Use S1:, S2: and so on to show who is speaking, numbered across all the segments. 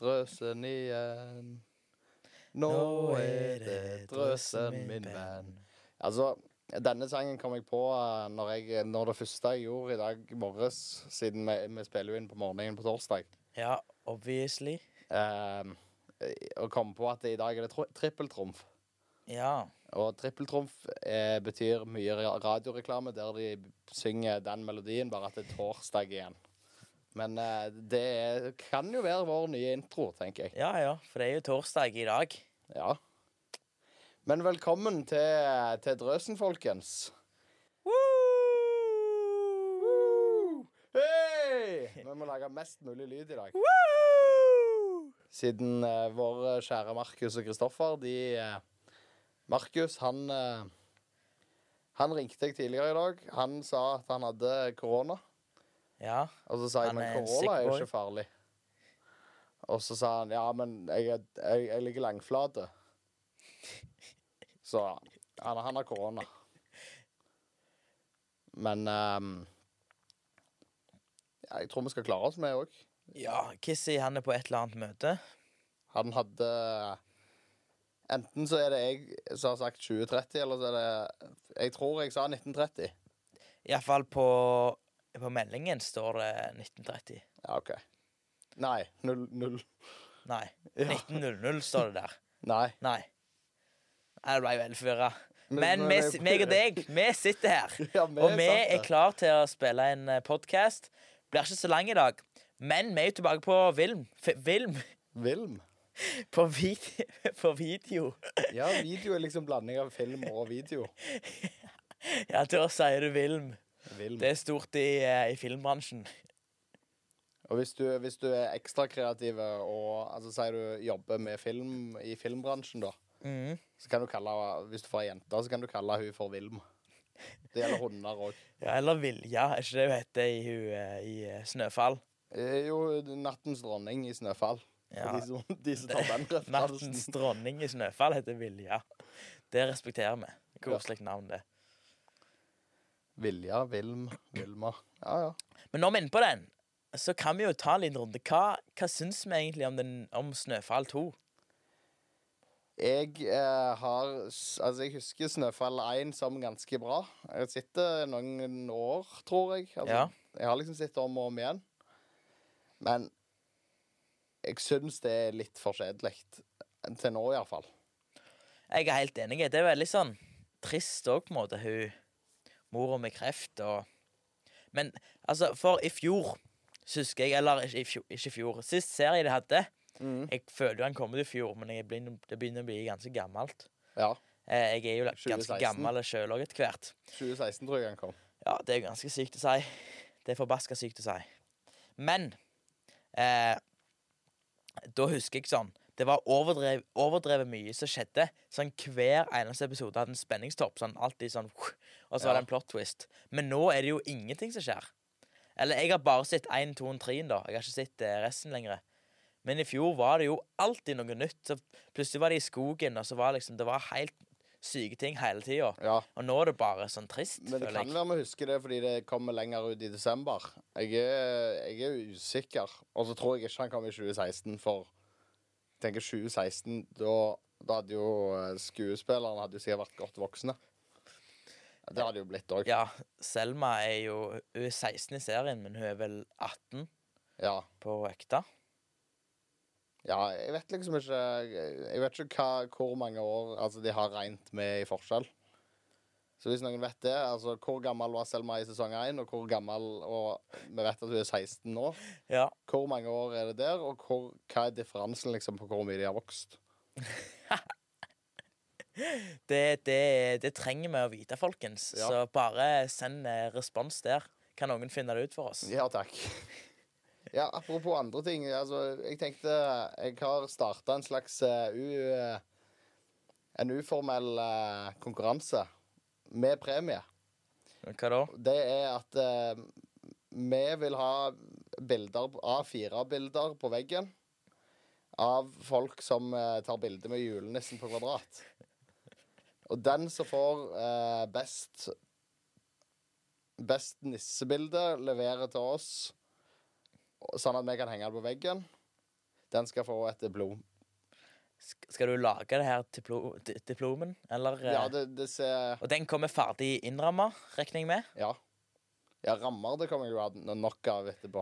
S1: drøsen igjen. Nå er det drøsen min venn. Altså, denne sangen kom jeg på eh, når, jeg, når det første jeg gjorde i dag morges, siden vi, vi spiller jo inn på morgenen på torsdag.
S2: Ja, obviously.
S1: Um, og kom på at i dag er det tro- trippeltrumf.
S2: Ja.
S1: Og trippeltrumf eh, betyr mye ra- radioreklame der de synger den melodien, bare at det er torsdag igjen. Men eh, det er- kan jo være vår nye intro, tenker jeg.
S2: ja, ja, for det er jo torsdag i dag.
S1: Ja. Men velkommen til, til Drøsen, folkens. Hei! Vi må lage mest mulig lyd i dag. Siden eh, våre kjære Markus og Kristoffer de eh, Markus, han eh, Han ringte jeg tidligere i dag. Han sa at han hadde korona.
S2: Ja.
S1: Og så sa jeg
S2: Han
S1: men
S2: er en
S1: korona er jo
S2: sick boy.
S1: ikke farlig. Og så sa han ja, men jeg, er- jeg, jeg ligger langflate. Så han, han har korona. Men ehm, ja, jeg tror vi skal klare oss med det òg.
S2: ja. Kissy, han er på et eller annet møte.
S1: Han hadde Enten så er det jeg som har sagt 2030, eller så er det Jeg tror jeg sa 1930.
S2: Iallfall på, på meldingen står det 1930.
S1: Ja, OK. Nei. Null. null.
S2: Nei.
S1: Ja.
S2: 1900 står det der.
S1: Nei.
S2: Nei. Nei, det ble jeg veldig forvirra.
S1: Men-
S2: Men
S1: men-
S2: vi si- meg og deg, vi sitter her.
S1: Ja, vi er
S2: Og vi
S1: sant
S2: er
S1: det.
S2: klar til å spille en podkast. Blir ikke så lang i dag. Men vi er jo tilbake på film. F film.
S1: Vilm.
S2: På, vid på video.
S1: Ja, video er liksom blanding av film og video.
S2: Ja, da sier du film.
S1: Vilm.
S2: Det er stort i, eh, i filmbransjen.
S1: Og hvis du, hvis du er ekstra kreativ og altså, sier du jobber med film i filmbransjen, da,
S2: Mhm.
S1: så kan du kalle Hvis du får ei jente, så kan du kalle hun for Vilm. Det gjelder hunder òg.
S2: Ja, eller Vilja, er ikke det hun heter i, hun, eh, i eh, Snøfall?
S1: Jo, Nattens dronning i Snøfall.
S2: Ja.
S1: De, som, de som tar den referansen.
S2: Nattens dronning i Snøfall heter Vilja. Det respekterer vi. Koselig navn, det.
S1: Vilja, Vilm, Vilma. Ja, ja.
S2: Men når vi er inne på den, så kan vi jo ta en liten runde. Hva, hva syns vi egentlig om, den, om Snøfall 2?
S1: Jeg eh, har s- Altså, jeg husker Snøfall 1 som ganske bra. Jeg har sett det noen år, tror jeg. Altså,
S2: Ja.
S1: Jeg har liksom sett det om og om igjen. Men jeg syns det er litt for kjedelig. Til nå, iallfall.
S2: Jeg er helt enig. Det er veldig sånn trist òg, på en måte. Hun mora med kreft og Men altså, for i fjor, så husker jeg Eller ikke i fjor, ikke i fjor. Sist serie de hadde.
S1: Mhm.
S2: Jeg føler jo han kom ut i fjor, men jeg begynner, det begynner å bli ganske gammelt.
S1: Ja.
S2: Eh, Jeg er jo ganske
S1: 2016.
S2: gammel sjøl òg etter hvert.
S1: 2016 tror jeg han kom.
S2: Ja, det er jo ganske sykt å si. Det er forbaska sykt å si. Men eh, da husker jeg sånn Det var overdrev, overdrevet mye som skjedde. Sånn Hver eneste episode hadde en spenningstopp. Sånn alltid sånn Og så var
S1: Ja.
S2: det en plot twist. Men nå er det jo ingenting som skjer. Eller jeg har bare sett 1, 2 og 3 da. Jeg har ikke sett eh, resten lenger. Men i fjor var det jo alltid noe nytt. Så plutselig var de i skogen, og så var liksom, det var helt syke ting hele tida.
S1: Ja.
S2: Og nå er det bare sånn trist,
S1: Men det
S2: føler jeg.
S1: kan være vi husker det fordi det kommer lenger ut i desember. Jeg er, jeg er usikker. Og så tror jeg ikke han kom i 2016, for jeg tenker 2016 Da, da hadde jo eh, skuespillerne hadde jo sikkert vært godt voksne. Ja, Det hadde jo blitt òg.
S2: Ja, Selma er jo Hun er 16 i serien, men hun er vel 18
S1: Ja.
S2: på ekte.
S1: ja. Jeg vet liksom ikke Jeg vet ikke hva, hvor mange år altså, de har regnet med i forskjell. Så hvis noen vet det, altså hvor gammel var Selma i sesong 1, og hvor gammel Og vi vet at hun er 16 nå.
S2: Ja.
S1: Hvor mange år er det der, og hvor, hva er differansen liksom, på hvor mye de har vokst?
S2: Det, det, det trenger vi å vite, folkens.
S1: Ja.
S2: Så bare send eh, respons der. Kan noen finne det ut for oss?
S1: Ja, takk. Ja, Apropos andre ting. Altså, jeg tenkte Jeg har starta en slags eh, u, eh, En uformell eh, konkurranse med premie.
S2: Hva da?
S1: Det er at eh, vi vil ha bilder, A4-bilder på veggen av folk som eh, tar bilde med julenissen på kvadrat. Og den som får eh, best Best nissebilde, leverer til oss, og- sånn at vi kan henge det på veggen. Den skal få et diplom.
S2: Sk- Skal du lage det her diplo di- diplomen, eller eh,
S1: Ja, det, det ser
S2: Og den kommer ferdig innramma, regner jeg med?
S1: Ja. Ja, rammer det kommer jeg jo av no- nok av etterpå.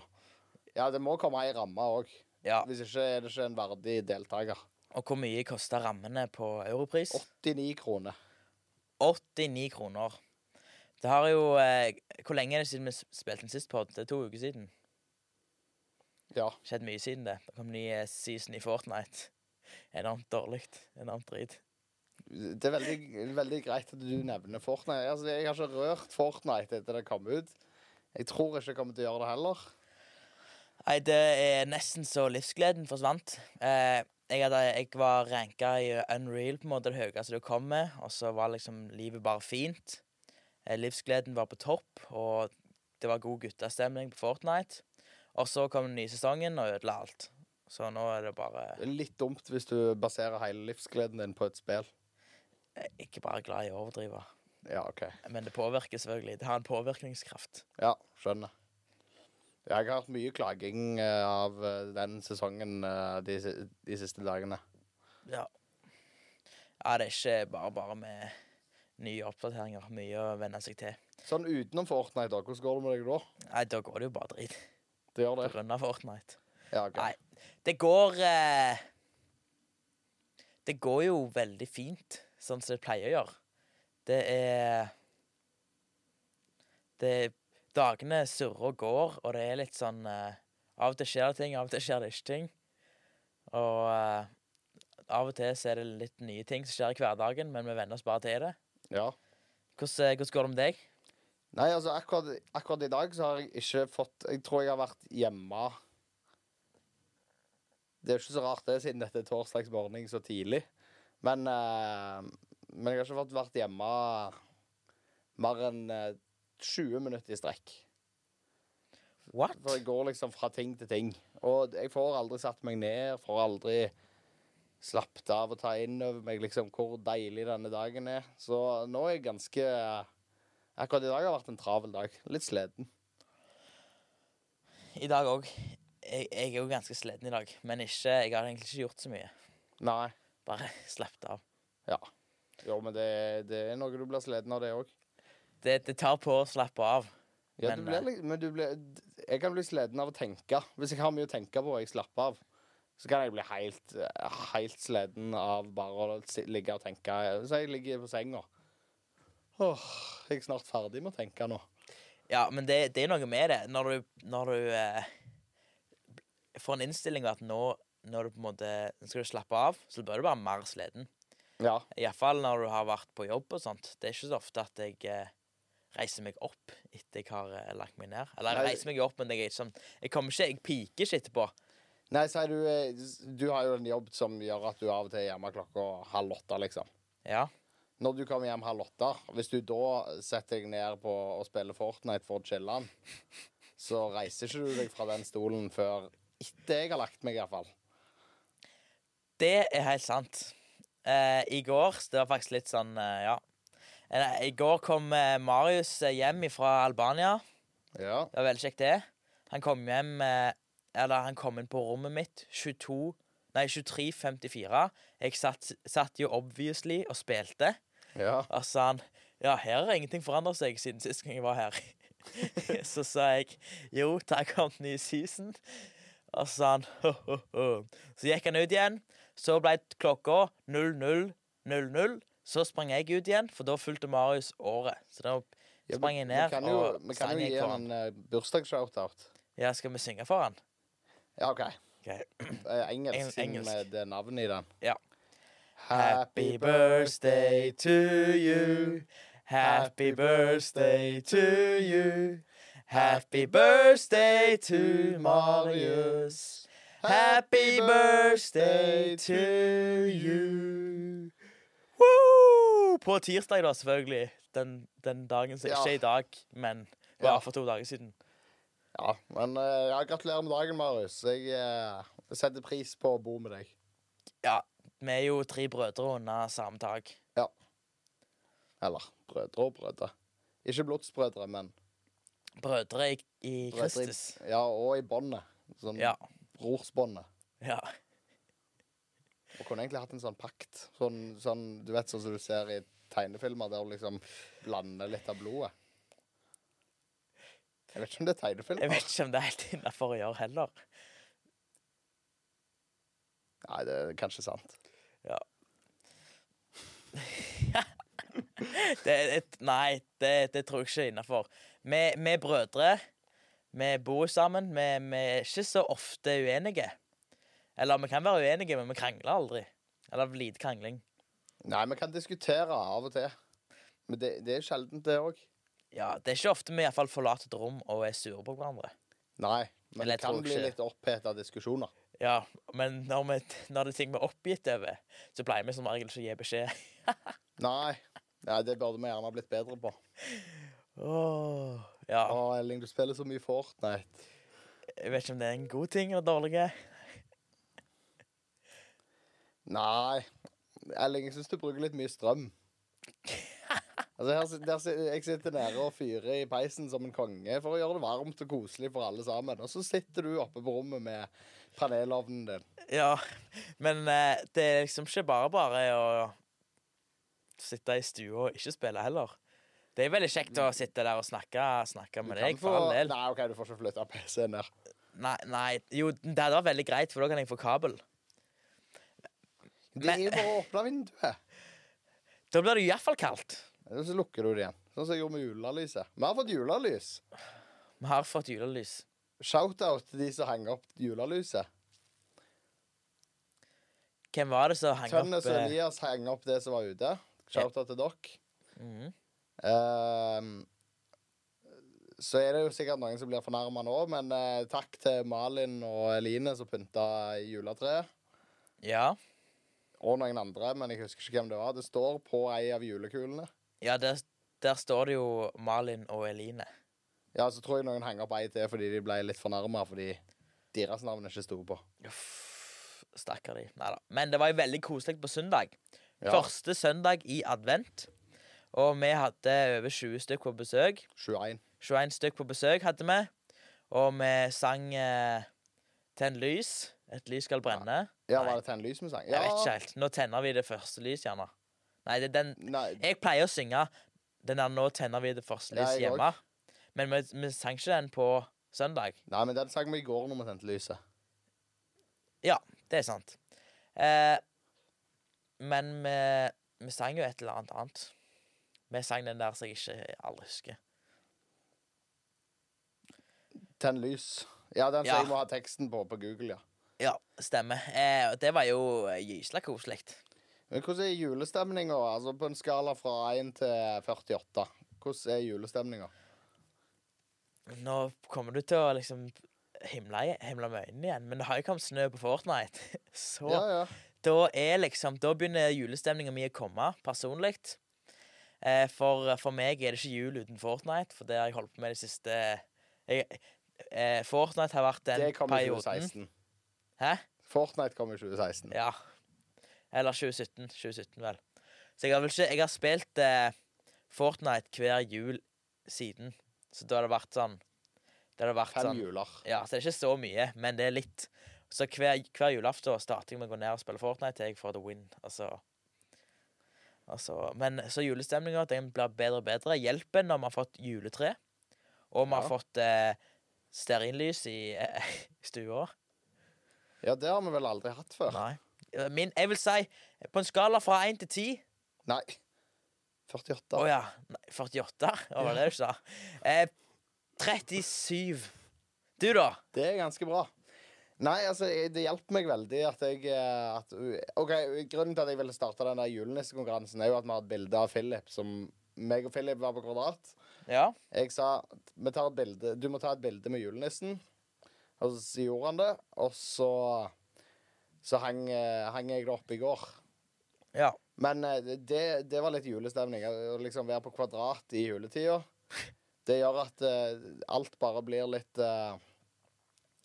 S1: Ja, det må komme ei ramme òg.
S2: Ja.
S1: Hvis ikke er det ikke en verdig deltaker.
S2: Og hvor mye kosta rammene på Europris?
S1: 89 kroner.
S2: 89 kroner. Det har jo eh, Hvor lenge er det siden vi s- spilte den sist pod? Det er to uker siden.
S1: Ja.
S2: Skjedd mye siden det. Det kom ny eh, season i Fortnite. Enormt dårlig. Enormt drit.
S1: Det er veldig, veldig greit at du nevner Fortnite. Altså, jeg har ikke rørt Fortnite etter det kom ut. Jeg tror ikke jeg kommer til å gjøre det heller.
S2: Nei, det er nesten så livsgleden forsvant. Eh, jeg, hadde, jeg var ranka i Unreal, på en måte det høyeste du kom med, og så var liksom livet bare fint. Eh, livsgleden var på topp, og det var god guttastemning på Fortnite. Og så kom den nye sesongen og ødela alt. Så nå er det bare
S1: Det er litt dumt hvis du baserer hele livsgleden din på et spill.
S2: Jeg er eh, ikke bare glad i å overdrive,
S1: Ja, OK.
S2: men det påvirker selvfølgelig. Det har en påvirkningskraft.
S1: Ja, skjønner. Jeg har hatt mye klaging eh, av eh, den sesongen eh, de, si- de siste dagene.
S2: Ja. ja, det er ikke bare bare med nye oppdateringer. Mye å venne seg til.
S1: Sånn utenom Fortnite, da, hvordan går det med deg da?
S2: Nei, da går det jo bare drit.
S1: Det gjør
S2: På
S1: det?
S2: grunn av Fortnite.
S1: Ja, ok.
S2: Nei. Det går eh, Det går jo veldig fint, sånn som det pleier å gjøre. Det er det, Dagene surrer og går, og det er litt sånn eh, Av og til skjer det ting, av og til skjer det ikke ting. Og eh, av og til så er det litt nye ting som skjer i hverdagen, men vi venner oss bare til det.
S1: Ja.
S2: Hvordan, eh, hvordan går det med deg?
S1: Nei, altså akkurat, akkurat i dag så har jeg ikke fått Jeg tror jeg har vært hjemme Det er ikke så rart det, siden dette er torsdags morgen så tidlig. Men, eh, men jeg har ikke fått vært hjemme mer enn eh, 20 minutter i strekk.
S2: What?
S1: For jeg går liksom fra ting til ting. Og jeg får aldri satt meg ned, får aldri slappet av og ta inn over meg liksom hvor deilig denne dagen er. Så nå er jeg ganske Akkurat i dag har vært en travel dag. Litt sliten.
S2: I dag òg. Jeg, jeg er jo ganske sliten i dag, men ikke, jeg har egentlig ikke gjort så mye.
S1: Nei.
S2: Bare slappet av.
S1: Ja. Jo, men det, det er noe du blir sliten av, det òg.
S2: Det, det tar på å slappe av.
S1: Ja,
S2: Men,
S1: du blir,
S2: eh,
S1: litt- men du blir Jeg kan bli sliten av å tenke. Hvis jeg har mye å tenke på og jeg slapper av, så kan jeg bli helt, helt sliten av bare å si- ligge og tenke. Så jeg ligger på senga. Åh, jeg er snart ferdig med å tenke nå.
S2: Ja, men det, det er noe med det. Når du, når du eh, får en innstilling av at nå, når du på en måte nå skal du slappe av, så bør du være mer sliten.
S1: Ja.
S2: Iallfall når du har vært på jobb og sånt. Det er ikke så ofte at jeg eh, reiser meg opp etter jeg har eh, lagt meg ned. Eller jeg
S1: Nei.
S2: reiser meg jo opp, men jeg er ikke sånn Jeg kommer ikke, jeg piker ikke etterpå.
S1: Nei, sier du eh, Du har jo en jobb som gjør at du av og til er hjemme klokka halv åtte, liksom.
S2: Ja.
S1: Når du kommer hjem halv åtte, hvis du da setter deg ned på å spille Fortnite for å chille, så reiser ikke du deg fra den stolen før etter jeg har lagt meg, iallfall.
S2: Det er helt sant. Eh, I går så Det var faktisk litt sånn, eh, ja. Eh, I går kom eh, Marius eh, hjem fra Albania.
S1: Ja.
S2: Det var veldig kjekt, det. Han kom hjem eh, Eller han kom inn på rommet mitt 22 Nei, 23.54. Jeg satt, satt jo obviously og spilte.
S1: ja.
S2: Og så sa Altså, han Ja, her har ingenting forandra seg siden sist gang jeg var her. så sa jeg jo, der kom den nye season. Og så sa han ho-ho-ho. Så gikk han ut igjen. Så ble klokka 00.00. Så sprang jeg ut igjen, for da fulgte Marius året. Så da
S1: Ja,
S2: sprang
S1: men-
S2: jeg ned
S1: Vi kan jo,
S2: og
S1: vi kan
S2: sang
S1: jo
S2: jeg
S1: gi
S2: for
S1: han
S2: han.
S1: en eh, bursdagsshout-out.
S2: Ja, skal vi synge for han?
S1: Ja, OK.
S2: Ok.
S1: Eh, engelsk,
S2: Eng-
S1: siden
S2: engelsk.
S1: eh, det er navnet i den.
S2: Ja. Happy birthday to you. Happy birthday to you. Happy birthday to Marius. Happy birthday to you. Woo! På tirsdag, da, selvfølgelig. Den, den dagen som
S1: Ja.
S2: ikke er i dag, men bare
S1: Ja.
S2: for to dager siden.
S1: Ja, men eh, ja, gratulerer med dagen, Marius. Jeg eh, setter pris på å bo med deg.
S2: Ja, vi er jo tre brødre under samme tak.
S1: Eller brødre og brødre. Ikke blodsbrødre, men
S2: Brødre i, i
S1: brødre i,
S2: Kristus.
S1: ja, og i båndet. Sånn
S2: Ja.
S1: brorsbåndet.
S2: Ja.
S1: Og kunne egentlig hatt en sånn pakt. Sånn, sånn, du vet sånn som du ser i tegnefilmer, der hun liksom blander litt av blodet. Jeg vet ikke om det er
S2: Jeg
S1: tegnefilmer.
S2: vet ikke om det er helt innafor å gjøre heller.
S1: Nei, det er kanskje sant.
S2: Det, er et, nei, det, det tror jeg ikke er innafor. Vi, vi er brødre. Vi bor sammen. Vi, vi er ikke så ofte uenige. Eller vi kan være uenige, men vi krangler aldri. Eller lite krangling.
S1: Nei, vi kan diskutere av og til. Men det, det er sjeldent, det òg.
S2: Ja, Det er ikke ofte vi i hvert fall forlater et rom og er sure på hverandre.
S1: Nei. Men
S2: Eller
S1: det
S2: jeg
S1: kan
S2: tror
S1: bli
S2: ikke-
S1: litt oppheta diskusjoner.
S2: Ja, Men når, vi, når det er ting vi er oppgitt over, så pleier vi som regel ikke å gi beskjed.
S1: Nei. Nei, det burde vi gjerne ha blitt bedre på.
S2: Åh, ja,
S1: Å, Elling, du spiller så mye Fortnite.
S2: Jeg vet ikke om det er en god ting eller dårlig.
S1: Nei. Elling, jeg syns du bruker litt mye strøm. Altså, her, sit- der, sit- jeg sitter nede og fyrer i peisen som en konge for å gjøre det varmt og koselig for alle sammen. Og så sitter du oppe på rommet med panelovnen din.
S2: Ja, men eh, det er liksom ikke bare bare å sitte i stua og ikke spille heller. Det er veldig kjekt å sitte der og snakke, snakke
S1: Mm. Du
S2: med
S1: kan
S2: deg, for all del.
S1: Nei, OK, du får ikke flytta PC-en der.
S2: Nei, nei, jo, det hadde vært veldig greit, for da kan jeg få kabel.
S1: Det
S2: Men-
S1: er jo bare å åpne vinduet.
S2: Da blir det iallfall kaldt.
S1: Og så lukker du det igjen. Sånn som jeg gjorde med julelyset. Vi har fått julelys.
S2: Vi har fått julelys.
S1: Shout-out til de som henger opp julelyset.
S2: Hvem var det som hang
S1: Tønnes
S2: opp
S1: og
S2: eh,
S1: Elias henger opp det som var ute. Shout-out til dere.
S2: mhm.
S1: Ehm, så er det jo sikkert noen som blir fornærma nå, men eh, takk til Malin og Eline som pynta juletreet.
S2: Ja.
S1: Og noen andre, men jeg husker ikke hvem det var. Det står på ei av julekulene.
S2: ja der, der står det jo Malin og Eline.
S1: Ja, så tror jeg noen henger opp ei til fordi de ble litt fornærma fordi deres navn ikke sto på.
S2: Uff, stakkar de. Neida. Men det var jo veldig koselig på søndag.
S1: Ja.
S2: Første søndag i advent. Og vi hadde over 20 stykk på besøk.
S1: 21.
S2: 21 stykk på besøk hadde vi. Og vi sang eh, 'Tenn lys'. Et lys skal brenne.
S1: Ja,
S2: Nei.
S1: var det Tenn lys vi sang?
S2: Jeg vet ikke
S1: Ja.
S2: helt. Nå tenner vi det første lys, gjerne. Nei, det er den
S1: Nei,
S2: Jeg pleier å synge den der 'Nå tenner vi det første
S1: Ja,
S2: lys'
S1: jeg
S2: hjemme. Men vi, vi sang ikke den på søndag.
S1: nei, men den sang vi i går når vi tente lyset.
S2: Det er sant. Eh, men vi, vi sang jo et eller annet annet. Vi sang den der som jeg ikke aldri husker.
S1: Tenn lys. Ja, den som
S2: Ja.
S1: jeg må ha teksten på på Google, ja.
S2: Ja, stemmer. Eh, og det var jo eh, gysla koselig.
S1: Men hvordan er julestemninga? Altså på en skala fra 1 til 48. Hvordan er julestemninga?
S2: Nå kommer du til å liksom himle, himle med øynene igjen, men det har jo kommet snø på Fortnite. Så
S1: Ja, ja.
S2: da er liksom Da begynner julestemninga mi å komme, personlig. Eh, for, for meg er det ikke jul uten Fortnite, for det har jeg holdt på med de siste jeg, eh, Fortnite har vært den
S1: Det kom i
S2: perioden.
S1: 2016.
S2: Hæ?
S1: Fortnite kom i 2016.
S2: Ja. Eller 2017. 2017, vel. Så jeg har vel ikke Jeg har spilt eh, Fortnite hver jul siden. Så da har det vært sånn Det har det vært
S1: Fem
S2: sånn
S1: juler.
S2: Ja, så det er ikke så mye, men det er litt. Så hver, hver julaften starter jeg med å gå ned og spille Fortnite til jeg får the win. Altså Altså, men så julestemninga blir bedre og bedre. Hjelper når vi har fått juletre, og vi har
S1: Ja.
S2: fått eh, stearinlys i eh, stua.
S1: Ja, det har vi vel aldri hatt før.
S2: Nei. Eh, Min, jeg vil si på en skala fra 1 til 10
S1: Nei. 48.
S2: Å ja. Nei, 48? Å, Hva var det du sa? Eh, 37. Du, da?
S1: Det er ganske bra. Nei, altså, jeg- det hjalp meg veldig at jeg eh, at, OK, grunnen til at jeg ville starte den der julenissekonkurransen, er jo at vi har et bilde av Philip som meg og Philip var på Kvadrat.
S2: Ja.
S1: Jeg sa vi tar et bilde, du må ta et bilde med julenissen. Og så sier- gjorde han det. Og så, så hang, eh, hang jeg det opp i går.
S2: ja.
S1: Men eh, det, det var litt julestemning. Å liksom være på kvadrat i juletida. Det gjør at eh, alt bare blir litt eh,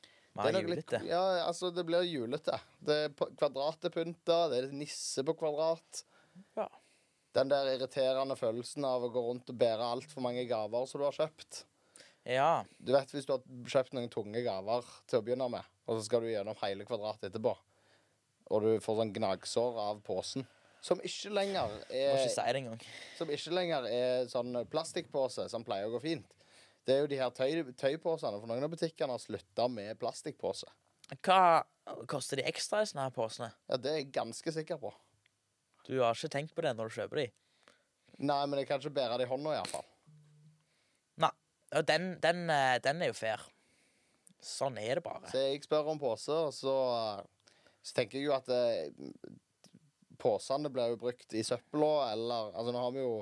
S2: Vi har
S1: det er nok
S2: julete.
S1: Litt, ja, altså, det blir julete. Det er på- kvadrat er pynta, det er nisse på kvadrat.
S2: Ja.
S1: Den der irriterende følelsen av å gå rundt og bære altfor mange gaver som du har kjøpt.
S2: Ja.
S1: Du vet hvis du har kjøpt noen tunge gaver til å begynne med, og så skal du gjennom hele kvadratet etterpå, og du får sånn gnagsår av posen, som ikke lenger
S2: Må
S1: er
S2: ikke si det engang.
S1: Som ikke lenger er sånn plastikkpose, som pleier å gå fint. Det er jo de her tøy, tøyposene, for noen av butikkene har slutta med plastikkpose.
S2: Hva koster de ekstra i sånne her posene?
S1: Ja, det er jeg ganske sikker på.
S2: Du har ikke tenkt på det når du kjøper de.
S1: Nei, men jeg kan ikke bære det i hånda, iallfall.
S2: Nei. Og den, den, eh, den er jo fair. Sånn er det bare.
S1: Så jeg spør om pose, og så, eh, så tenker jeg jo at eh, posene blir jo brukt i søpla, eller Altså, nå har vi jo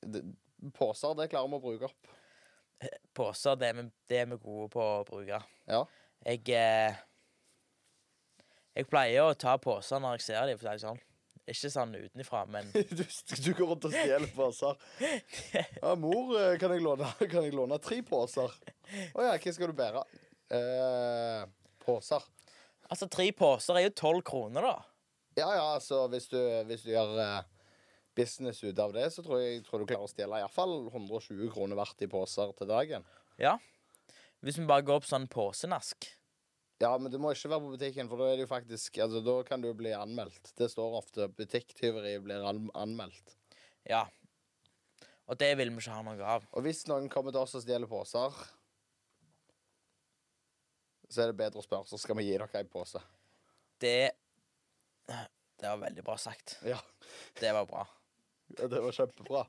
S1: det- Poser, det klarer vi å bruke opp.
S2: Poser, det er vi, det er vi gode på å bruke.
S1: Ja.
S2: Jeg eh, Jeg pleier å ta poser når jeg ser dem, for å si det sånn. Ikke sånn utenfra, men
S1: Du, du går rundt og stjeler poser. Ja, 'Mor, eh, kan jeg låne, kan jeg låne tre poser?' 'Å ja, hva skal du bære?' Eh, poser.
S2: Altså, tre poser er jo tolv kroner, da.
S1: Ja ja, altså, hvis du, hvis du gjør eh, business ut av det, så tror jeg tror du klarer å stjele iallfall 120 kroner verdt i poser til dagen.
S2: Ja. Hvis vi bare går på sånn posenask.
S1: Ja, men du må ikke være på butikken, for da er det jo faktisk Altså, da kan du bli anmeldt. Det står ofte 'Butikktyveri blir an anmeldt'.
S2: Ja. Og det vil vi ikke ha noe av.
S1: Og hvis noen kommer til oss og stjeler poser, så er det bedre å spørre, så skal vi gi dere en pose.
S2: Det Det var veldig bra sagt.
S1: Ja,
S2: Det var bra.
S1: det var kjempebra.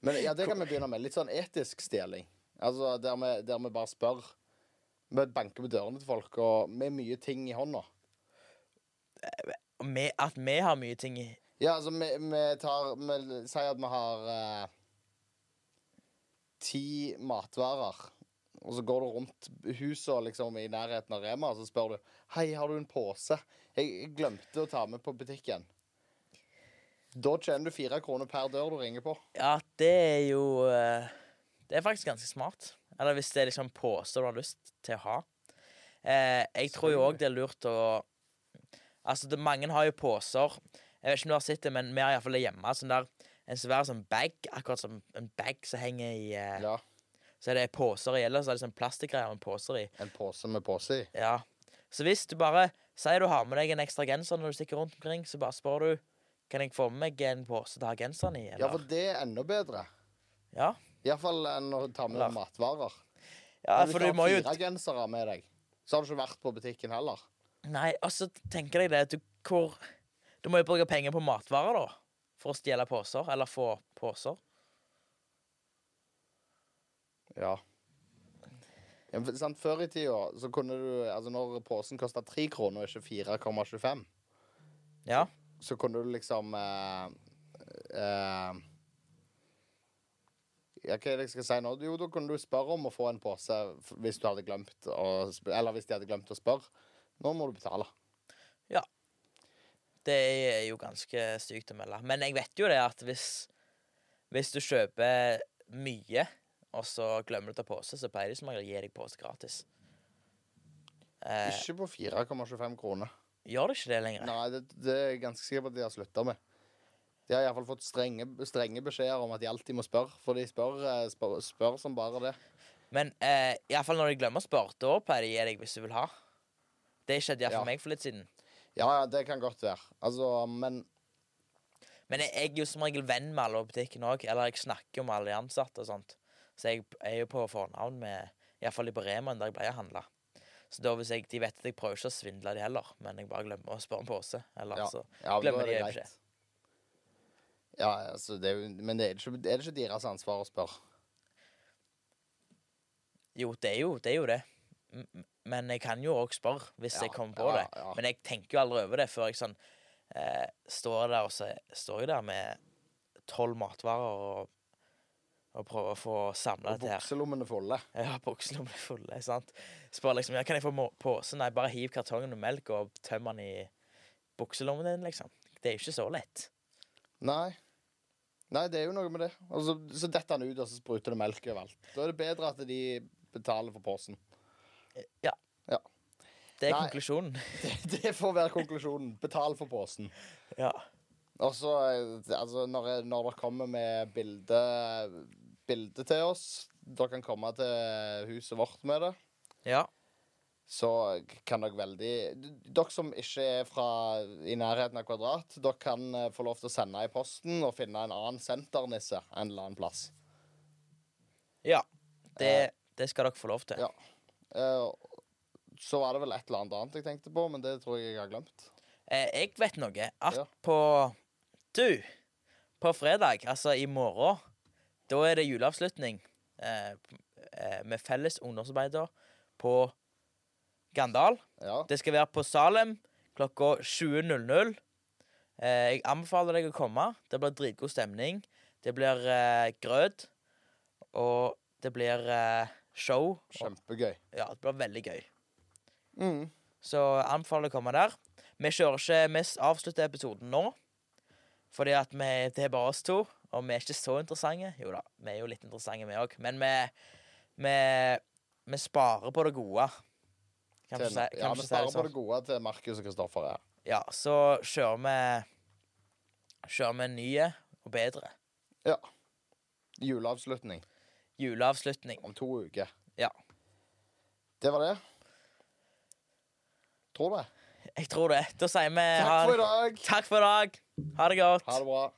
S1: Men ja, det kan vi begynne med. Litt sånn etisk stjeling. Altså der vi, der vi bare spør. Vi banker på dørene til folk og med mye ting i hånda.
S2: Og vi- at vi har mye ting i
S1: Ja, altså, vi, vi tar Vi sier at vi har eh, ti matvarer. Og så går du rundt huset liksom, i nærheten av Rema og så spør du Hei, har du en pose. Jeg jeg glemte å ta med på butikken. Da tjener du fire kroner per dør du ringer på.
S2: Ja, det er jo eh, Det er faktisk ganske smart. Eller hvis det er liksom poser du har lyst til å ha. Eh, jeg tror jo òg det er lurt å Altså, det, mange har jo poser. Jeg vet ikke om du har sett det, men vi har iallfall det hjemme. Sånn der, en svær sånn bag, akkurat som en bag som henger i eh,
S1: Ja,
S2: Så er det poser i, eller så er det sånn plastgreier med poser i.
S1: En pose med pose i.
S2: Ja. Så hvis du bare sier du har med deg en ekstra genser når du stikker rundt omkring, så bare spør du kan jeg få med meg en pose til å ha genseren i.
S1: Ja, for
S2: Eller?
S1: det er enda bedre.
S2: Ja,
S1: Iallfall enn å ta med
S2: Eller-
S1: matvarer.
S2: ja
S1: Men
S2: for du
S1: hvis du
S2: må
S1: har
S2: jo
S1: fire gensere med deg, så har du ikke vært på butikken heller.
S2: Nei, altså, tenker deg det at du, hvor, du må jo bruke penger på matvarer, da. For å stjele poser, eller få poser.
S1: Ja. ja men sant? Før i tida, så kunne du Altså, når posen kosta tre kroner og ikke 4,25,
S2: Ja.
S1: så kunne du liksom eh, eh, ja, hva er det jeg skal si nå? Jo, da kunne du spørre om å få en pose f- hvis du hadde glemt å, sp- Eller hvis de hadde glemt å spørre. Nå må du betale.
S2: Det er jo ganske sykt å melde. Men jeg vet jo det at hvis, hvis du kjøper mye, og så glemmer du å ta pose, så pleier de som regel å gi deg pose gratis. Eh,
S1: Ikke på 4,25 kroner.
S2: gjør det ikke det lenger?
S1: Nei, det, det er jeg ganske sikker på at de har slutta med. De har iallfall fått strenge, strenge beskjeder om at de alltid må spørre, for de spør, eh, spør, spør som bare det.
S2: Men eh, iallfall når de glemmer å spørre, da pleier de å gi deg hvis du vil ha. Det skjedde iallfall
S1: Ja.
S2: for meg for litt siden.
S1: Ja, ja, det kan godt være. Altså, men
S2: Men jeg, jeg er jo som regel venn med alle på butikken òg, eller jeg snakker jo med alle de ansatte og sånt. Så jeg er jo på fornavn med iallfall de på Remaen der jeg pleier å handle. Så da hvis jeg, de vet at jeg prøver ikke å svindle de heller, men jeg bare glemmer å spørre om pose. Eller
S1: Ja.
S2: så
S1: ja, men da
S2: glemmer
S1: er
S2: de
S1: det
S2: å
S1: greit.
S2: ikke.
S1: Ja, altså, det er, jo- men det er, ikke, er det ikke deres ansvar å spørre?
S2: Jo, det er jo det. Er jo det. M- m- Men jeg kan jo òg spørre hvis
S1: Ja,
S2: jeg kommer på
S1: ja,
S2: det.
S1: ja.
S2: Men jeg tenker jo aldri over det før jeg sånn eh, står der og så står jeg der med tolv matvarer og, og prøver å få samla
S1: Og
S2: dette her.
S1: bukselommene fulle.
S2: Ja, buksene blir fulle. sant? Spør liksom ja, kan jeg få må- pose. Nei, bare hiv kartongen med melk og tøm den i bukselommen din, liksom. Det er jo ikke så lett.
S1: Nei. Nei, det er jo noe med det. Og så, så detter den ut, og så spruter det melk overalt. Da er det bedre at de betaler for posen.
S2: Det er
S1: Nei.
S2: konklusjonen.
S1: Det, det får være konklusjonen. Betal for posen.
S2: Ja.
S1: Og så, eh, altså, når, jeg, når dere kommer med bilde bilde til oss. Dere kan komme til huset vårt med det.
S2: Ja.
S1: Så kan dere veldig Dere som ikke er fra i nærheten av Kvadrat, dere kan eh, få lov til å sende i posten og finne en annen senternisse en eller annen plass.
S2: ja. Det, det skal dere få lov til.
S1: Eh. Ja. Eh, Så var det vel et eller annet annet jeg tenkte på, men det tror jeg jeg har glemt.
S2: Eh, jeg vet noe. At
S1: Ja.
S2: på Du, på fredag, altså i morgen, da er det juleavslutning eh, eh, med felles ungdomsarbeider på Gandal.
S1: Ja.
S2: Det skal være på Salem klokka 20.00. Eh, jeg anbefaler deg å komme. Det blir dritgod stemning. Det blir eh, grøt. Og det blir eh, show. Og,
S1: Kjempegøy.
S2: ja, det blir veldig gøy.
S1: Mm.
S2: Så jeg anbefaler å komme der. Vi kjører ikke Vi avslutter episoden nå. Fordi at vi, det er bare oss to, og vi er ikke så interessante. Jo da, vi er jo litt interessante, vi òg, men vi, vi, vi sparer på det gode. Kan
S1: Til,
S2: ikke si,
S1: ja,
S2: kan ikke
S1: vi
S2: si
S1: sparer
S2: det
S1: på
S2: sånn.
S1: det gode til Markus og Kristoffer her.
S2: Ja, så kjører vi Kjører vi nye og bedre.
S1: Juleavslutning
S2: Juleavslutning.
S1: om to uker.
S2: Ja.
S1: Det var det. Tror det.
S2: Jeg tror det. Da sier vi
S1: Takk
S2: ha-
S1: for i dag.
S2: Takk for i dag. Ha det godt.
S1: Ha det bra.